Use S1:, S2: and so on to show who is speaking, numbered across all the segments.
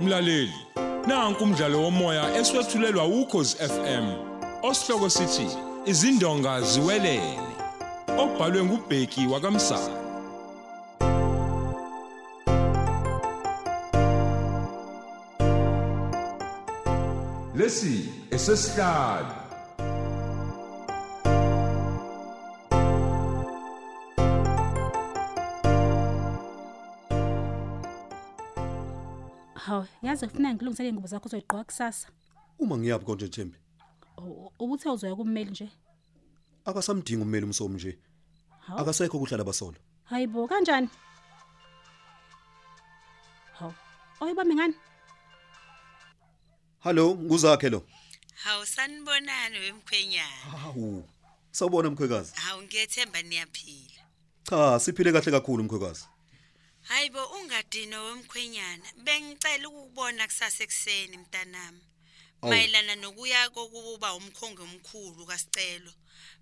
S1: Mlaleli, nanku umdlalo womoya eswetshulelwa ukhozi FM. Osihloko sithi izindonga ziwelele. Obhalwe ngubheki wakamsa. Lesi esesihlalo
S2: hawu yazi kufuneka ngilungisele iy'ngubo zakho uzoyigqoka kusasa
S3: uma ngiyabi konje Thembi
S2: U- ubuthe uzoya kummeli nje
S3: akasamdinga ummeli umsomo nje
S2: hawu
S3: akasekho kuhlala basolo
S2: hayi bo kanjani hawu oyibambe ngani
S3: hallo nguzakhe lo
S4: Hawu sanibonani wemkhwenyana.
S3: hawu sawubona mkhwekazi
S4: Hawu ngiyethemba niyaphila.
S3: cha siphile kahle kakhulu mkhwekazi
S4: Hayibo ungadino wemkhwenyana. Bengicela ukubona kusasa ekseni mntanami.
S3: Awu.
S4: Mayelana nokuya kokuba umkhongi omkhulu kaSicelo.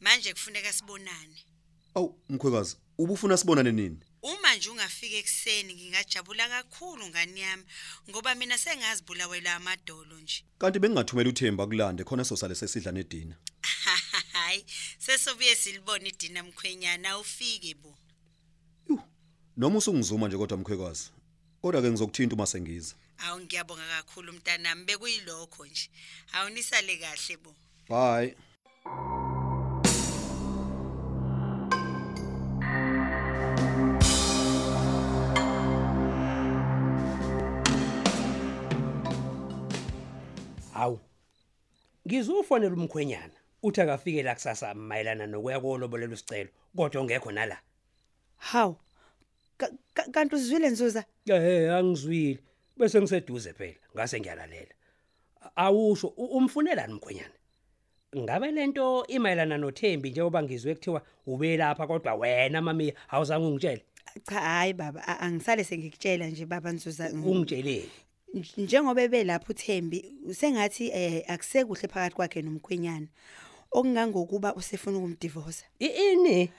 S4: Manje kufuneka sibonane.
S3: awu mkhwekazi ubufuna sibonane nini
S4: Uma nje ungafika ekseni ngingajabula kakhulu ngani yami ngoba mina sengazibulawela amadolo nje.
S3: kanti bengingathumela uThemba kulande khona sosale sesidla nedina
S4: Hayi sesobuye silibone idina mkhwenyana ufike bo.
S3: noma usungizuma nje kodwa mkhwekazi kodwa ke ngizokuthinta uma sengiza
S4: Awu ngiyabonga kakhulu mntanami bekuyilokho nje. Awunisale kahle bo.
S3: bye
S5: Hawu. Ngizofonela umkhwenyana uthi akafike la kusasa mayelana nokuya kolobolelo sicelo kodwa ongekho nala.
S6: Haw. Ka- ka- Kanti uzwile Nzuza?
S5: Eh angizwile bese ngiseduze phela ngase ngiyalalela. Awusho u- umfunelani umkhwenyana? Ngabe lento imayelana noThembi njengoba ngizwe kuthiwa ube lapha kodwa wena mami awuzange ungitshele.
S6: Cha hayi baba, a- angisale sengikutshela nje baba Nzuza.
S5: Mm.
S6: ng-
S5: Ungitsheleni.
S6: nj- Njengoba ebelapha uThembi, sengathi eh akusekuhle phakathi kwakhe nomkhwenyana. Okungangokuba usefuna ukumdivorce.
S5: I- Ini?
S6: I-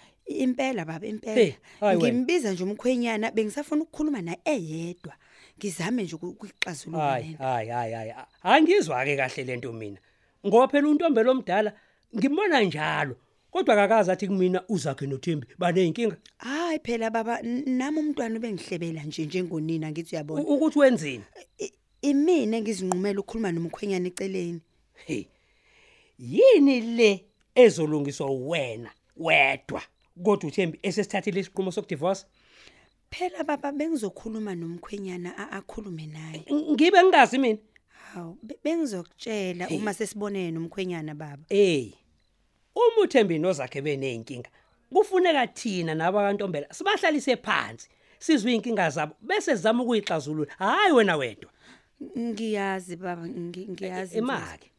S6: Impela baba, impela.
S5: Hey, hhayi wena.
S6: Ngimbiza nje umkhwenyana, bengisafuna ukukhuluma naye eyedwa. Ngizame nje ukuyixazulula
S5: Hayi
S6: lento.
S5: hayi hayi hayi a- angizwa ke kahle lento mina ngoba phela untombelo omdala ngimona njalo kodwa akakazi athi kumina uzakhe noThembi baneyinkinga
S6: Hayi phela baba, n- nami umntwana ubengihlebela nje njengonina ngithi uyabona.
S5: U- ukuthi wenzeni
S6: I- Imina engizinqumela ukukhuluma nomkhwenyana eceleni.
S5: hey yini le ezolungiswa wena wedwa kodwa uThembi esesithathile isiqhumo sokudivorce
S6: phela baba bengizokhuluma nomkhwenyana a- akhulume naye
S5: Ng- ngibe ngingazi mina
S6: hawu be- bengizokutshela
S5: Hey.
S6: uma sesibonene nomkhwenyana baba
S5: hey uma uThembi nozakhe beneyinkinga kufuneka thina nabakantombela sibahlalise phansi sizwe inkinga zabo bese sizama ukuyixazulula hayi wena wedwa
S6: ngiyazi baba ngi- ngiyazi Nzuza.
S5: imake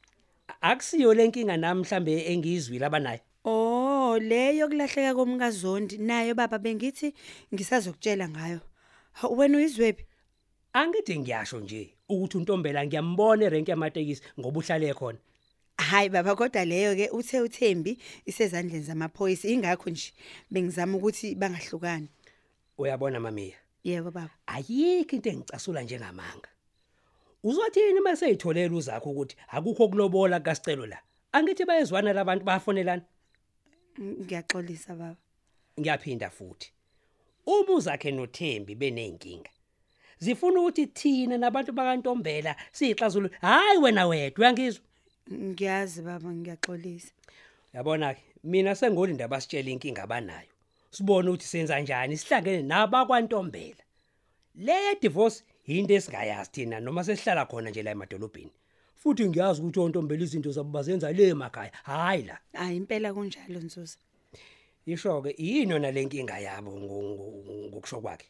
S5: akusiyo lenkinga nami mhlambe engizwile abanayo
S6: oh leyo kulahleka komkazondi nayo baba bengithi ngisazokutshela ngayo Hawu, wena uyizwephi
S5: angide ngiyasho nje ukuthi untombela ngiyambona erenki yamatekisi ngoba uhlale khona
S6: hayi baba kodwa leyo ke uthe uThembi isezandleni zamaphoyisa ingakho nje bengizama ukuthi bangahlukani
S5: uyabona mamiya
S6: yebo baba
S5: ayikho into engicasula njengamanga uzothini bese eyitholela uzakho ukuthi akukho kulobola kasicelo la angithi bayezwana labantu bayafonelana
S6: ngiyaxolisa baba
S5: ngiyaphinda futhi uma uzakhe noThembi beneyinkinga zifuna ukuthi thina nabantu bakantombela siyixazulule hayi wena wedwa uyangizwa
S6: ngiyazi baba ngiyaxolisa
S5: Yabona ke mina sengolinda basitshela inkinga abanayo. Sibone ukuthi senza njani sihlangene nabakwantombela. Le divorce into esingayazi thina noma sesihlala khona nje la emadolobheni. Futhi ngiyazi ukuthi ontombela izinto zabo bazenza le emakhaya. Hayi la.
S6: hayi impela kunjalo Nzuza
S5: Isho ke yini yona lenkinga yabo ngo- ngo- ngokusho kwakhe.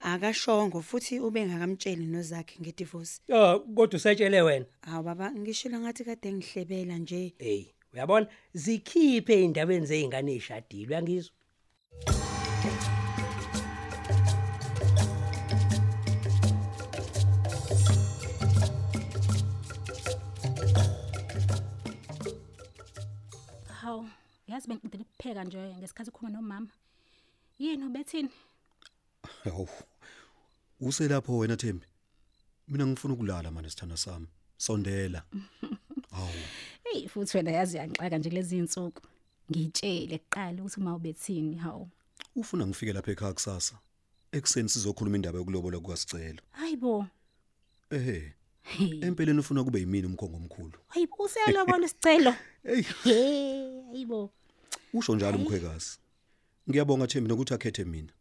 S6: akashongo futhi ubengakamtsheli nozakhe ngedivorce
S5: Ah kodwa usetshele wena.
S6: hawu baba ngishilo ngathi kade ngihlebela nje
S5: Hey, uyabona zikhiphe indabeni zeingane eshadile uyangizwa.
S2: hawu yazi bengiqedela ukupheka nje ngesikhathi ukhuluma nomama yini ubethini
S3: hawu uselapho wena Thembi mina ngifuna ukulala manje sithanda sami sondela awu
S2: eyi futhi wena yazi uyangixaka nje kulezi iy'nsuku ngiyitshele kuqala ukuthi uma ubethini hawu
S3: ufuna ngifike lapha ekhaya kusasa ekuseni sizokhuluma indaba yokulobola kukaSicelo
S2: hayi bo
S3: ehe
S2: Hey,
S3: empeleni ufuna kube yimini umkhongo omkhulu
S2: hayi bo, useyalobona isicelo
S3: hey
S2: he hayi bo
S3: usho njalo umkhwekazi ngiyabonga Thembi nokuthi akhethe mina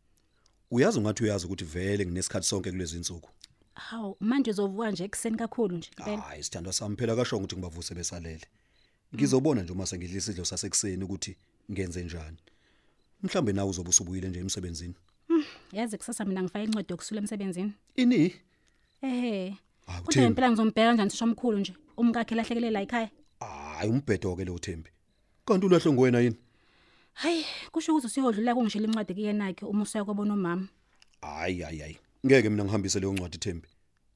S3: uyazi ungathi uyazi ukuthi vele nginesikhathi sonke kulezi insuku
S2: hawu manje uzovuka nje ekuseni kakhulu nje impela
S3: hayi sithandwa sami phela akasho ukuthi ngibavuse besalele ngizobona nje uma sengidla isidlo sasekuseni ukuthi ngenze njani mhlambe nawe uzobe usubuyile nje emsebenzini
S2: yazi kusasa mina ngifake incwadi yokusula emsebenzini
S3: ini
S2: ehe
S3: Hawu,
S2: kodwa
S3: Thembi.
S2: impela ngizombheka kanjani sisho omkhulu nje umkakhe lahlekelele la ekhaya
S3: hayi umbhedo ke lo Thembi kanti ulahlo ngwena yini
S2: hayi kusho ukuthi usiyodlula kungishila incwadi kuyenakhe uma usuya kwabona umama
S3: hayi hayi hayi ngeke mina ngihambise leyo ncwadi Thembi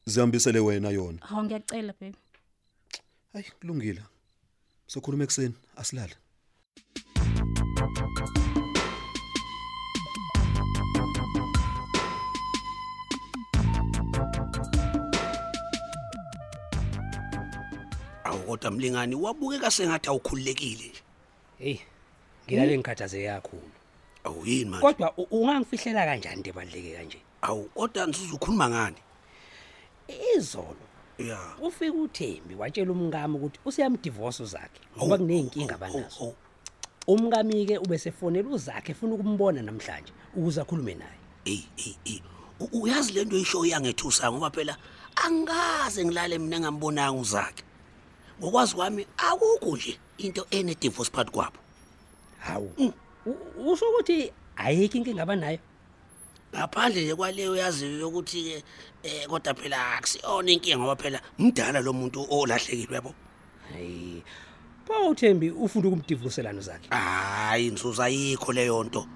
S3: zihambisele wena yona
S2: hawu ngiyakucela babe
S3: hayi kulungile sokhuluma ekseni asilale
S7: awu kodwa mlingani wabukeka sengathi awukhululekile nje
S5: hey ngilale ngikhathaze yakhulu
S7: awu yini manje
S5: kodwa u- ungangifihlela kanjani into ebaluleke kanje
S7: awu kodwa nisuzukhuluma ngani
S5: izolo
S7: ya
S5: ufika uThembi watshela umngamo ukuthi useyamdivorce zakhe ngoba kuneyinkinga abanazo
S7: Oh, oh,
S5: umngami ke ubesefonela uzakhe efuna ukumbona namhlanje ukuze akhulume naye
S7: eyi eyi eyi U- uyazi le nto isho iyangethusa ngoba phela angaze ngilale mina engambonanga uzakhe ngokwazi kwami akukho nje into ene-divorce phakathi kwabo
S5: hawu U- usho ukuthi ayikho inkinga abanayo
S7: ngaphandle nje kwaleyo yaziyo yokuthi-ke um kodwa phela akusiyona inkinga ngoba phela mdala lo muntu olahlekile yabo
S5: hayi pho uThembi ufunda ukumdivorcelana zakhe
S7: hhayi nsuza ayikho leyo nto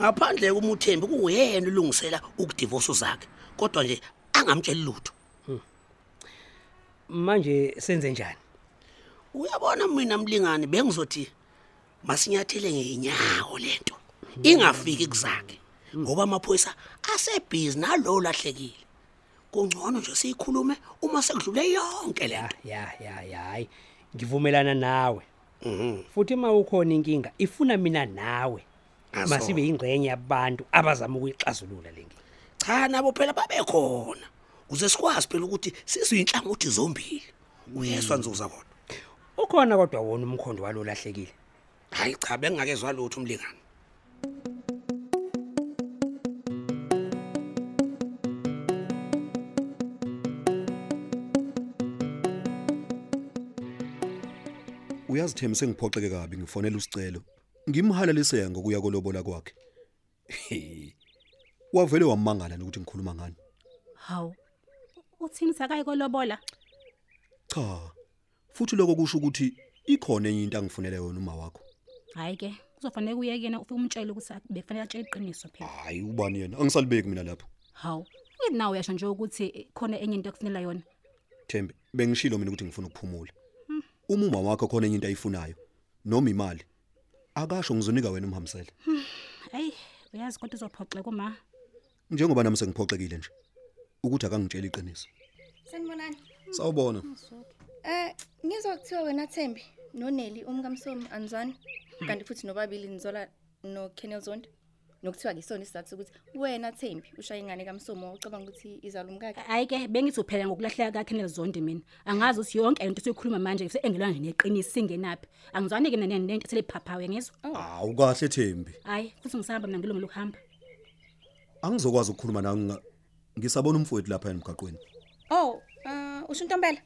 S7: ngaphandle kumuthembi kuyena ulungisela ukudivosa uzakhe kodwa nje angamtsheli lutho
S5: manje senze njani
S7: uyabona mina mlingani bengizothi masinyathele ngenyawo lento ingafiki kuzakhe ngoba amaphoyisa asebhizi nalowo lahlekile kungcono nje siyikhulume uma sekudlule yonke le
S5: ya
S7: nto
S5: ya ya ya hayi ngivumelana nawe
S7: Mhm,
S5: futhi uma ukhona inkinga ifuna mina nawe
S7: Aso.
S5: masibe ingcenye yabantu abazama ukuyixazulula lenkinga
S7: cha nabo phela babekhona kuze sikwazi phela ukuthi siziyinhlangothi zombili uyezwa nzuza kodwa
S5: ukhona kodwa wona umkhondo walolahlekile
S7: hayi cha bengingakezwa lutho umlingani
S3: uyazi Thembi sengiphoxeke kabi ngifonela usicelo ngimhalaliseka ngokuya kolobola kwakhe wavele wamangala nje ukuthi ngikhuluma ngani
S2: hawu uthini sakayi kolobola
S3: cha futhi lokho kusho ukuthi ikhona enye into angifunele yona uma wakho
S2: hayi ke kuzofanele uyekena ufike umtshele ukuthi ak- bekufanele atshele iqiniso phela
S3: hayi ubani yena angisalibeki mina lapho
S2: hawu ngithi nawe uyasho nje ukuthi eh, khona enye into ekufunela yona
S3: Thembi bengishilo mina ukuthi ngifuna ukuphumula uma umama wakho khona enye into ayifunayo noma imali akasho ngizonika wena umhambisele
S2: hayi uyazi kodwa uzophoxe kuma
S3: njengoba nami sengiphoxekile nje ukuthi akangitshela iqiniso
S8: Sanibonani.
S3: sawubona
S8: Eh ngizwa kuthiwa wena Thembi noNeli umkamsomi anizwani kanti futhi nobabili nizola noKenneth Zondi. Nokuthiwa ke isona isizathu ukuthi wena Thembi ushaya ingane kaMsomo ucabanga ukuthi izalo umkakhe.
S2: hayi ke bengithi uphela ngokulahleka kakhe nelizonde mina angazi ukuthi yonke into esiyikhuluma manje seyengelwa nje neqiniso singenaphi angizwani ke mina nento seliphaphawe ngizwa
S3: awu kahle Thembi
S2: hayi futhi ngisahamba mina ngilungela ukuhamba
S3: angizokwazi ukukhuluma nawe nginga- ngisabona umfowethu lapha emgaqweni
S8: Oh, uh usho intombela?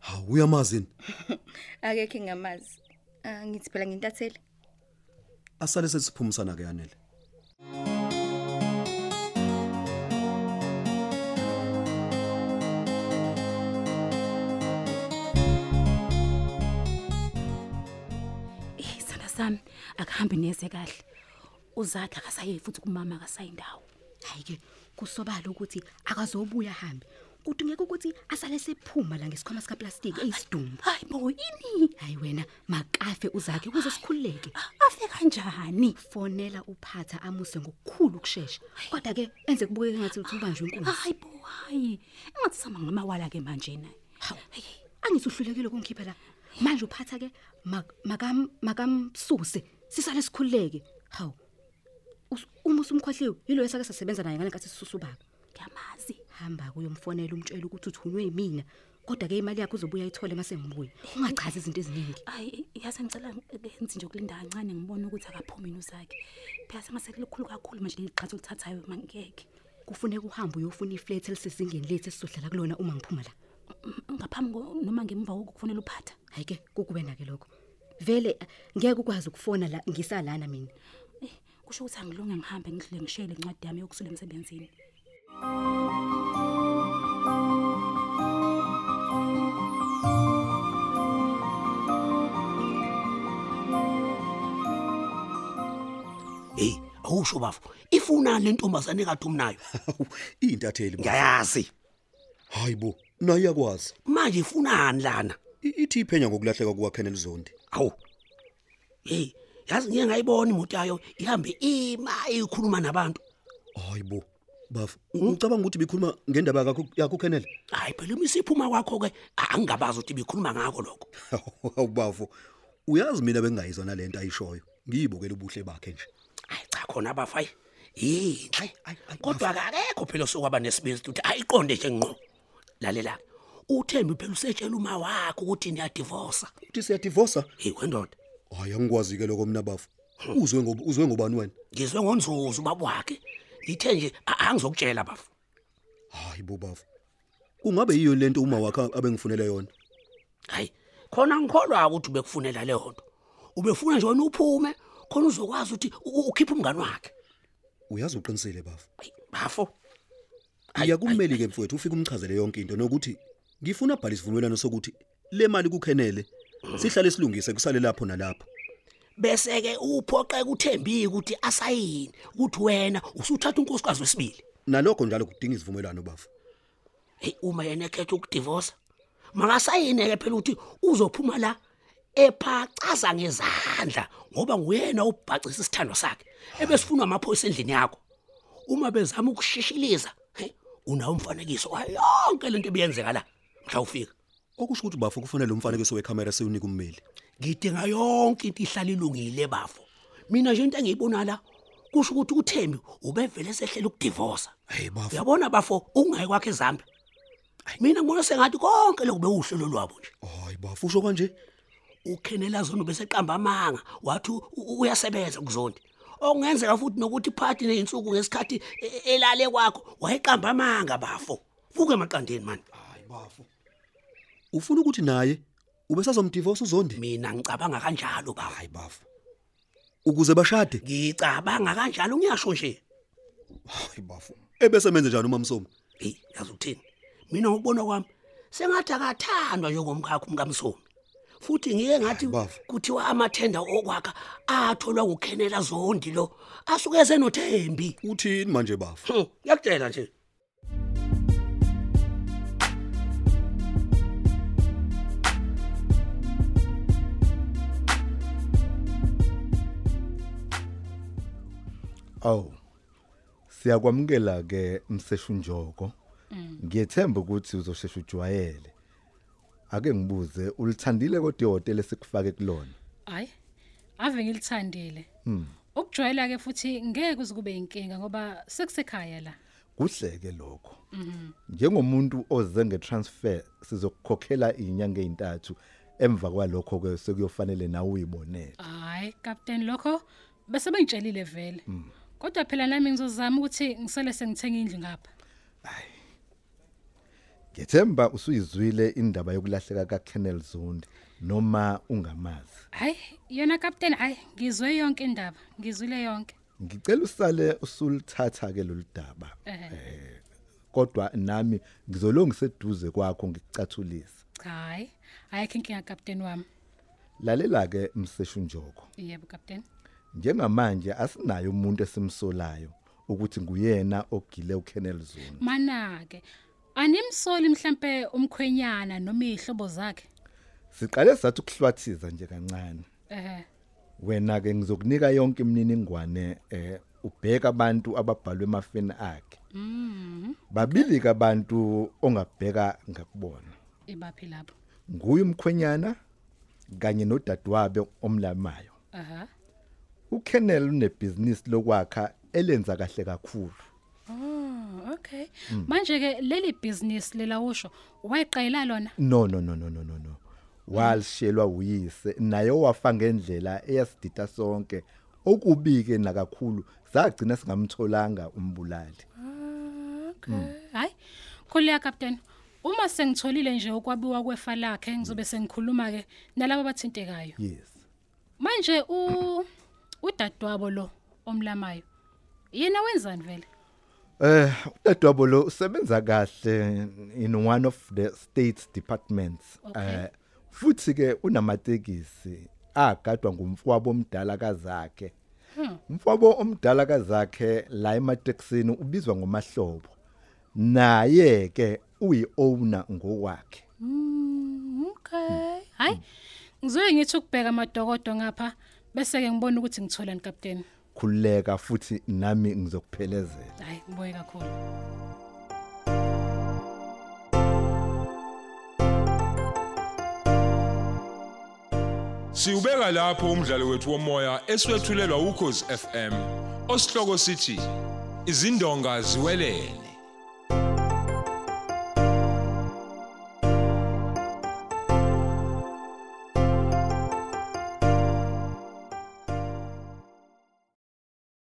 S3: ha uyamazini
S8: Akekho ngamazi. Ah ngithi phela ngintatheli.
S3: asale sesiphumisana ke yanele
S2: Eh, sithanda sami akuhambi neze kahle uzakhe akasaye futhi kumama akasayindawo
S9: hayi-ke kusobala ukuthi akazobuya hambe
S8: kudingeka ukuthi asale sephuma la ngesikhwama sikaplastiki eyisidumbu
S2: hayi bo ini
S8: hayi wena makafe uzakhe ukuze sikhululeke
S2: afe kanjani
S8: fonela uphatha amuse ngokukhulu ukushesha kodwa ke enze kubukeke ngathi uthi ubanjwe inkunzi
S2: hayi bo hayi
S8: engathi sama ngamawala ke manje na angithi uhlulekile ukungikhipha la manje uphatha ke mak- makam makamsuse sisale sikhululeke hawu Us- uma usumkhohliwe yilo esake sasebenza naye ngalenkathi sisusa ubaba
S2: ngiyamazi
S8: hamba kuyomfonela umtshela ukuthi uthunywe yimina kodwa ke imali yakhe uzobuya ayithole mase ngibuye ungachazi izinto eziningi
S2: hayi yazi ngicela ngenzi nje ukulinda kancane ngibone ukuthi akaphumi nozakhe phela sengaselikhulu kakhulu manje leli qhatha olithathayo mangeke
S8: kufuneka uhambe uyofuna iflat elisezingeni lethu esizodlala kulona uma ngiphuma la
S2: ngaphambi ko- noma ngemva kokufunela uphatha
S8: hayi ke kukube nake lokho vele eh, ngeke ukwazi ukufona la ngisalana mina
S2: Eh, kusho ukuthi angilunge ngihambe ngidlule ngishayele incwadi yami yokusula emsebenzini
S5: hey awusho bafu ifuna le ntombazane kaDumnayo
S3: Intatheli. bo.
S5: ngiyayazi
S3: Hayibo, naye yakwazi.
S5: manje ifunani lana
S3: I- Ithi iphenya ngokulahleka kukaKenneth Zondi.
S5: awu hey yazi ngiye ngayibona imoto yayo ihambe ima ikhuluma nabantu
S3: Hayibo. Bafu, ucabanga ukuthi bikhuluma ngendaba yakho yakho uKenneth?
S5: hayi phela uma isiphuma kwakho ke angingabazi ukuthi bikhuluma ngakho lokho
S3: Hawu bafu. Uyazi mina bengayizona lento ayishoyo. Ngiyibukela ubuhle bakhe nje.
S5: hayi cha khona abafayi yinhle kodwa akekho phela sokwaba nesibindi ukuthi ayiqonde nje ngqo lalela uthembi phela usetshela uma wakho ukuthi niyadivorsa
S3: Uthi siyadivorsa?
S5: hey wendoda
S3: Hayi angikwazi ke lokho mina bafu. Uzwe ngoba uzwe ngobani wena?
S5: ngizwe ngonzuzu ubaba wakhe ngithe nje a- angizokutshela bafu
S3: Hayibo bafu. Kungabe yiyo lento uma wakhe abengifunele yona.
S5: hayi khona ngikholwa ukuthi ubekufunela le nto ubefuna nje wena uphume khona uzokwazi ukuthi u- u- ukhiphe umngani wakhe
S3: Uyazi uqinisile bafu.
S5: Ayi, bafo Ayi,
S3: Iyakumeli ke mfowethu ufike umchazele yonke into nokuthi ngifuna abhale isivumelwano sokuthi le mali kuKenneth sihlale silungise kusale lapho nalapho.
S5: bese ke uphoqe kuthembi ukuthi asayini ukuthi wena usuthatha unkosikazi wesibili
S3: Nalokho njalo kudinga isivumelwano bafu.
S5: hey uma yena ekhetha ukudivorce makasayine ke phela ukuthi uzophuma la ephacaza ngezandla ngoba nguyena ubhacisa isithando sakhe ebesifunwa amaphoyisa endlini yakho uma bezama ukushishiliza hey unawo umfanekiso wayo yonke lento ebiyenzeka la mhla ufika
S3: Okusho ukuthi bafu kufanele umfanekiso wecamera siwunika ummeli.
S5: ngidinga yonke into ihlala ilungile bafo mina nje into engiyibona la kusho ukuthi uThembi ubevele sehlela ukudivorce
S3: Hey bafu.
S5: uyabona bafo ungayi kwakhe ezambe mina ngibona sengathi konke lokube uhlelo lwabo nje
S3: Hayi bafu usho kanje.
S5: ukhenela zona beseqamba amanga wathi u- u- uyasebenza kuzondi okungenzeka futhi nokuthi phakathi neinsuku ngesikhathi e- elale kwakho wayeqamba amanga bafo vuke emaqandeni mani
S3: Hayi bafu. Ufuna ukuthi naye ubesazomdivorce uzondi?
S5: mina ngicabanga kanjalo bafo
S3: Hayi bafu. Ukuze bashade?
S5: ngicabanga kanjalo ngiyasho nje
S3: Hayi bafu. Ebese menze njani uma msomo?
S5: hey yazi uthini mina ngokubona kwami sengathi akathandwa njengomkhakha umkamsomi futhi ngike ngathi
S3: Hayi, bafo.
S5: kuthiwa amathenda okwakha atholwa ngukhenela zondi lo asuke esenothembi
S3: Uthini manje bafu?
S5: Hmm, ngiyakutshela nje
S10: Aw. Siyakwamukela ke umseshunjoko. Ngiyethemba ukuthi uzoshesha ujwayele. Ake ngibuze ulithandile kodwa ihotela esikufake kulona.
S11: hayi ave ngilithandile ukujwayela ke futhi ngeke uzikube inkinga ngoba sekusekhaya la
S10: Kuhle ke lokho. Njengomuntu oze ngetransfer sizokukhokhela inyanga ezintathu emva kwalokho ke sekuyofanele nawe uyibonele.
S11: hayi captain lokho bese bengitshelile vele kodwa phela nami ngizozama ukuthi ngisele sengithenga indlu ngapha
S10: Ngiyethemba usuyizwile indaba yokulahleka kaKenneth Zondi noma ungamazi.
S11: hayi yona captain hayi ngizwe yonke indaba ngizwile yonke
S10: Ngicela usale usulithatha ke lolu daba.
S11: Ehhe.
S10: Eh kodwa nami ngizolongiseduze kwakho ngikucathulisa.
S11: hayi ayikho inkinga captain wami
S10: Lalela ke umseshunjoko.
S11: yebo captain
S10: Njengamanje asinayo umuntu esimsolayo ukuthi nguyena ogile uKenneth Zulu.
S11: mana ke Animsoli mhlambe umkhwenyana noma ihlobo zakhe.
S3: siqale sathi ukuhlwathiza nje kancane
S11: Eh.
S3: wena ke ngizokunika yonke imininingwane eh ubheka abantu ababhalwe emafeni akhe
S11: Mhm.
S3: babili kabantu ongabheka ngakubona
S11: Ibaphi lapho?
S3: nguye umkhwenyana kanye nodadewabo omlamayo
S11: Aha.
S3: uKennel unebusiness lokwakha elenza kahle kakhulu
S11: Oh, okay.
S3: Mm.
S11: Manje ke leli business lelawusho wayeqayela lona.
S3: no no no no no no no walishelwa uyise naye owafa ngendlela eyasidida sonke okubike nakakhulu sagcina singamtholanga umbulali
S11: Okay. Hayi. Khulya captain. Uma sengitholile nje ukwabiwa kwefa lakhe ngizobe sengikhuluma ke nalabo abathintekayo.
S3: yes
S11: Manje u udadewabo lo omlamayo. Yena wenzani vele?
S3: Eh udadwabo lo usebenza kahle in one of the state's departments. Eh,
S11: Okay.
S3: futhi ke unamatekisi agadwa ngumfowabo omdala kazakhe.
S11: Hmm.
S3: Umfowabo omdala kazakhe la ematekisini ubizwa ngomahlobo. Naye ke uyiowner ngokwakhe.
S11: Mm, okay. Hayi. Ngizoye ngithi ukubheka amadokodo ngapha bese ke ngibona ukuthi ngitholani captain.
S3: Khuleka futhi nami ngizokuphelezela.
S11: Hayi, ngiboye kakhulu.
S1: Siubeka lapho umdlalo wethu womoya eswetshulelwa ukhozi FM. Osihloko sithi izindonga ziwelele.